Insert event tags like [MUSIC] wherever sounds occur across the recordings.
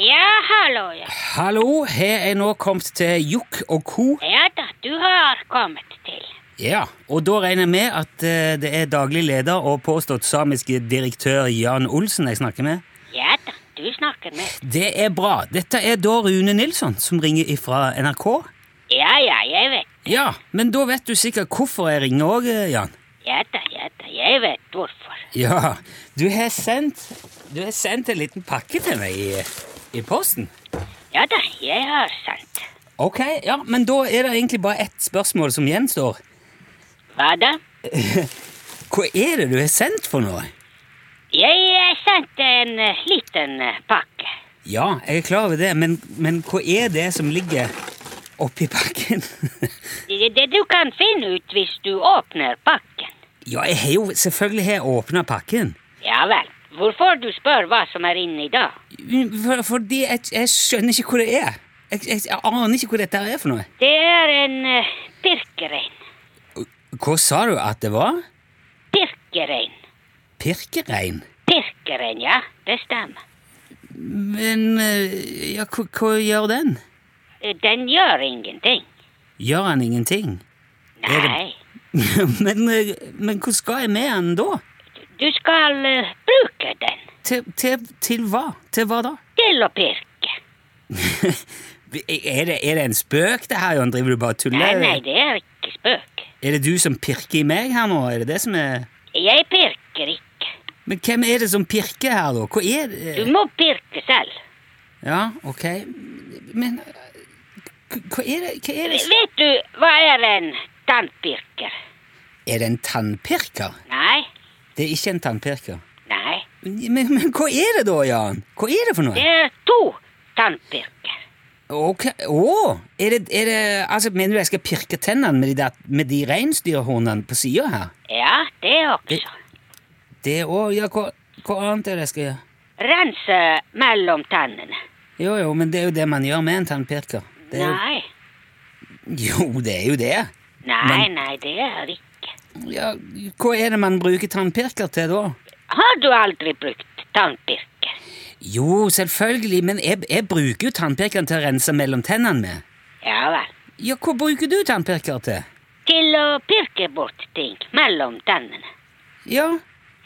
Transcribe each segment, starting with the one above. hallo, ja. Hallo, har jeg nå kommet til Jokk og co. Ja da, du har kommet til. Ja, og da regner jeg med at eh, det er daglig leder og påstått samiske direktør Jan Olsen jeg snakker med. Ja da, du snakker med. Det er bra. Dette er da Rune Nilsson som ringer ifra NRK. Ja ja, jeg vet. Ja, men da vet du sikkert hvorfor jeg ringer òg, Jan. Ja da, ja da, jeg vet hvorfor. Ja, du har sendt Du har sendt en liten pakke til meg i, i posten. Ja da, jeg har sant. Ok, ja, men da er det egentlig bare ett spørsmål som gjenstår. Hva da? Hva er det du har sendt for noe? Jeg sendte en eh, liten eh, pakke. Ja, jeg er klar over det, men, men hva er det som ligger oppi pakken? [LAUGHS] Det, det du kan finne ut hvis du åpner pakken. ja, jeg har jo selvfølgelig har åpna pakken. Ja vel. Hvorfor du spør hva som er inni da? For, fordi jeg, jeg skjønner ikke hvor det er. Jeg, jeg, jeg aner ikke hvor dette er for noe. Det er en eh, pirkerein. Hva sa du at det var? Pirkerein. Pirkerein? Pirkerein, ja. Det stemmer. Men eh, ja, hva, hva gjør den? Eh, Den gjør ingenting. Gjør han ingenting? Er det- Nei. [LAUGHS] men, eh, men hva skal jeg med han da? Du skal eh, bruke den Til, til, til hva? Til hva da? til å pirke. [LAUGHS] Er det, er det en spøk det her, Jon? Driver du bare og tuller? Nei, nei, det er ikke spøk. Er det du som pirker i meg her nå? Er det det som er Jeg pirker ikke. Men hvem er det som pirker her, da? Hva er det Du må pirke selv. Ja, ok. Men eh, hva er det, hva er det som Vet du hva er en tannpirker? Er det en tannpirker? Nei, Det er ikke en tannpirker. nei. Men, men hva er det da, Jan? Hva er det for Det noe? er to tannpirker. Ok, Å! er, det, er det Altså, mener du jeg skal pirke tennene med de, der- med de reinsdyrhornene på sida her? Ja, det også. Det òg? Ja, hva, hva annet er det jeg skal gjøre? Rense mellom tannene. Jo, jo, men det er jo det man gjør med en tannpirker. Det er Nei, jo, jo, det er jo det. nei, nei, det er ikke. Ja, hva er det man bruker tannpirker til da? Har du aldri brukt tannpirker? Jo, selvfølgelig, men jeg, jeg bruker jo tannpirkeren til å rense mellom tennene med. Ja vel. Ja, hva bruker du tannpirker til? Til å pirke bort ting mellom tennene. Ja,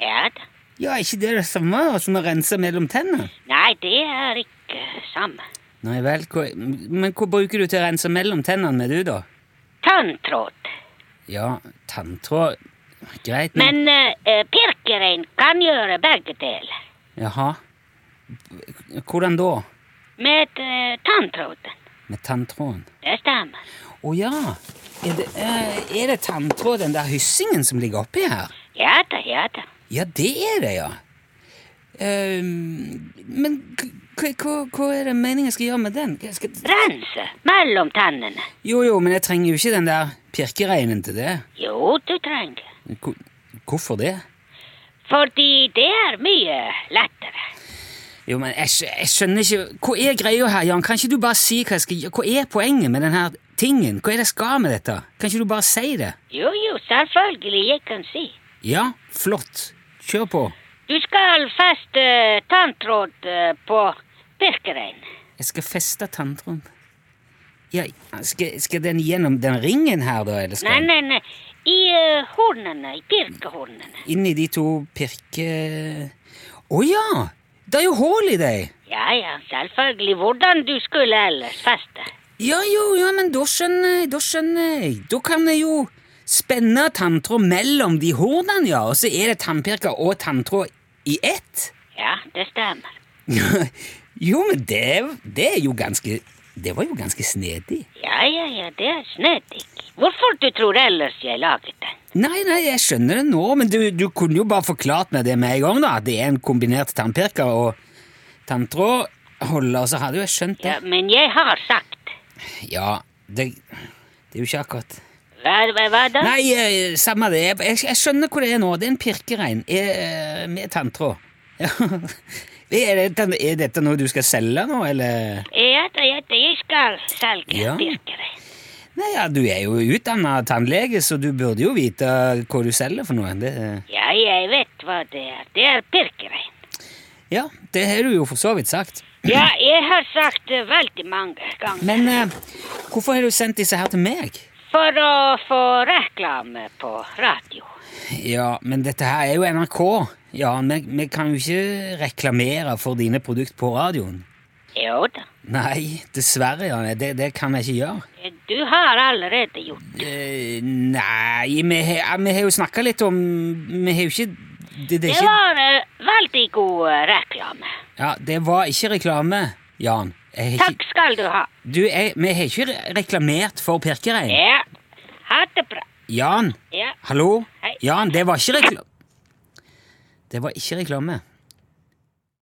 Ja da. ja, er ikke det det samme som å rense mellom tennene? Nei, det er ikke samme. Nei vel, hva, men hva bruker du til å rense mellom tennene med du da? Tanntråd. Ja, tanntråd, greit, men... Men eh, eh, pirkerein kan gjøre begge deler. Jaha, hvordan da? Med eh, tanntråden. Med tanntråden? Det stemmer. Å ja, er det, eh, er det tanntråd, den der hyssingen som ligger oppi her? Ja da, ja da. Ja, det er det, ja. Ehm, men k- k- hva, hva er det meningen jeg skal gjøre med den? Jeg skal... Rense mellom tennene. Jo, jo, men jeg trenger jo ikke den der pirkereinen til det. Jo, du trenger. Hvor- Hvorfor det? Fordi det er mye lettere. Jo, men jeg, skj- jeg skjønner ikke Hva er greia her, Jan? Kan ikke du bare si hva jeg skal gjøre? Hva er poenget med denne tingen? Hva er det jeg skal med dette? Kan ikke du bare si det? Jo, jo, selvfølgelig, jeg kan si. Ja, flott. Kjør på. Du skal feste tanntråd eh, på pirkerein. Jeg skal feste tanntråden. Ja, skal, skal den gjennom den ringen her, da? Eller skal Nei, den- nei, nei. I eh, hornene, i pirkehornene. Inn i de to pirke... Å ja! Det er jo hull i deg! Ja, ja, selvfølgelig. Hvordan du skulle ellers feste. Ja jo, ja, men da skjønner jeg, da skjønner jeg. Da kan jeg jo spenne tanntråd mellom de hornene, ja, og så er det tannpirker og tanntråd i ett. [LAUGHS] Ja, det stemmer. jo, men det, det er jo ganske Det var jo ganske snedig. Ja, ja, ja, det er snedig. Hvorfor du tror ellers jeg laget den? Nei, nei, jeg skjønner det nå, men du, du kunne jo bare forklart meg det med en gang, da. At det er en kombinert tannpirker og tanntrådholder, så hadde jo jeg skjønt det. Ja, men jeg har sagt. Ja, det, det er jo ikke akkurat Hva, hva, hva da? Nei, eh, samme det. Jeg, jeg skjønner hvor det er nå. Det er en pirkerein eh, med tanntråd. Ja. [LAUGHS] Er, dette, er dette noe du skal selge nå, eller? Ja, da, ja, da, jeg skal selge Ja. pirkerein. Nei, ja, Du er jo utdanna tannlege, så du burde jo vite hva du selger for noe. Det, Ja, jeg vet hva det er. Det er pirkerein. Ja, det har du jo for så vidt sagt. Ja, jeg har sagt det veldig mange ganger. Men eh, hvorfor har du sendt disse her til meg? For å få reklame på radio. Ja, men dette her er jo NRK. Ja, vi, vi kan jo ikke reklamere for dine produkter på radioen. Jo da. Nei, dessverre, Janne. Det, det kan jeg ikke gjøre. Du har allerede gjort det. Eh, nei, vi har ja, vi har jo snakka litt om Vi har jo ikke det, det, er Det ikke var eh, veldig god eh, reklame. ja, det var ikke reklame, Jan. Jeg har ikke, Takk skal du ha. du, jeg, vi har ikke re- reklamert for Pirkereim. Ja. Ha det bra. Jan, Ja. hallo? Hei. Jan, det var ikke reklame. Det var ikke reklame.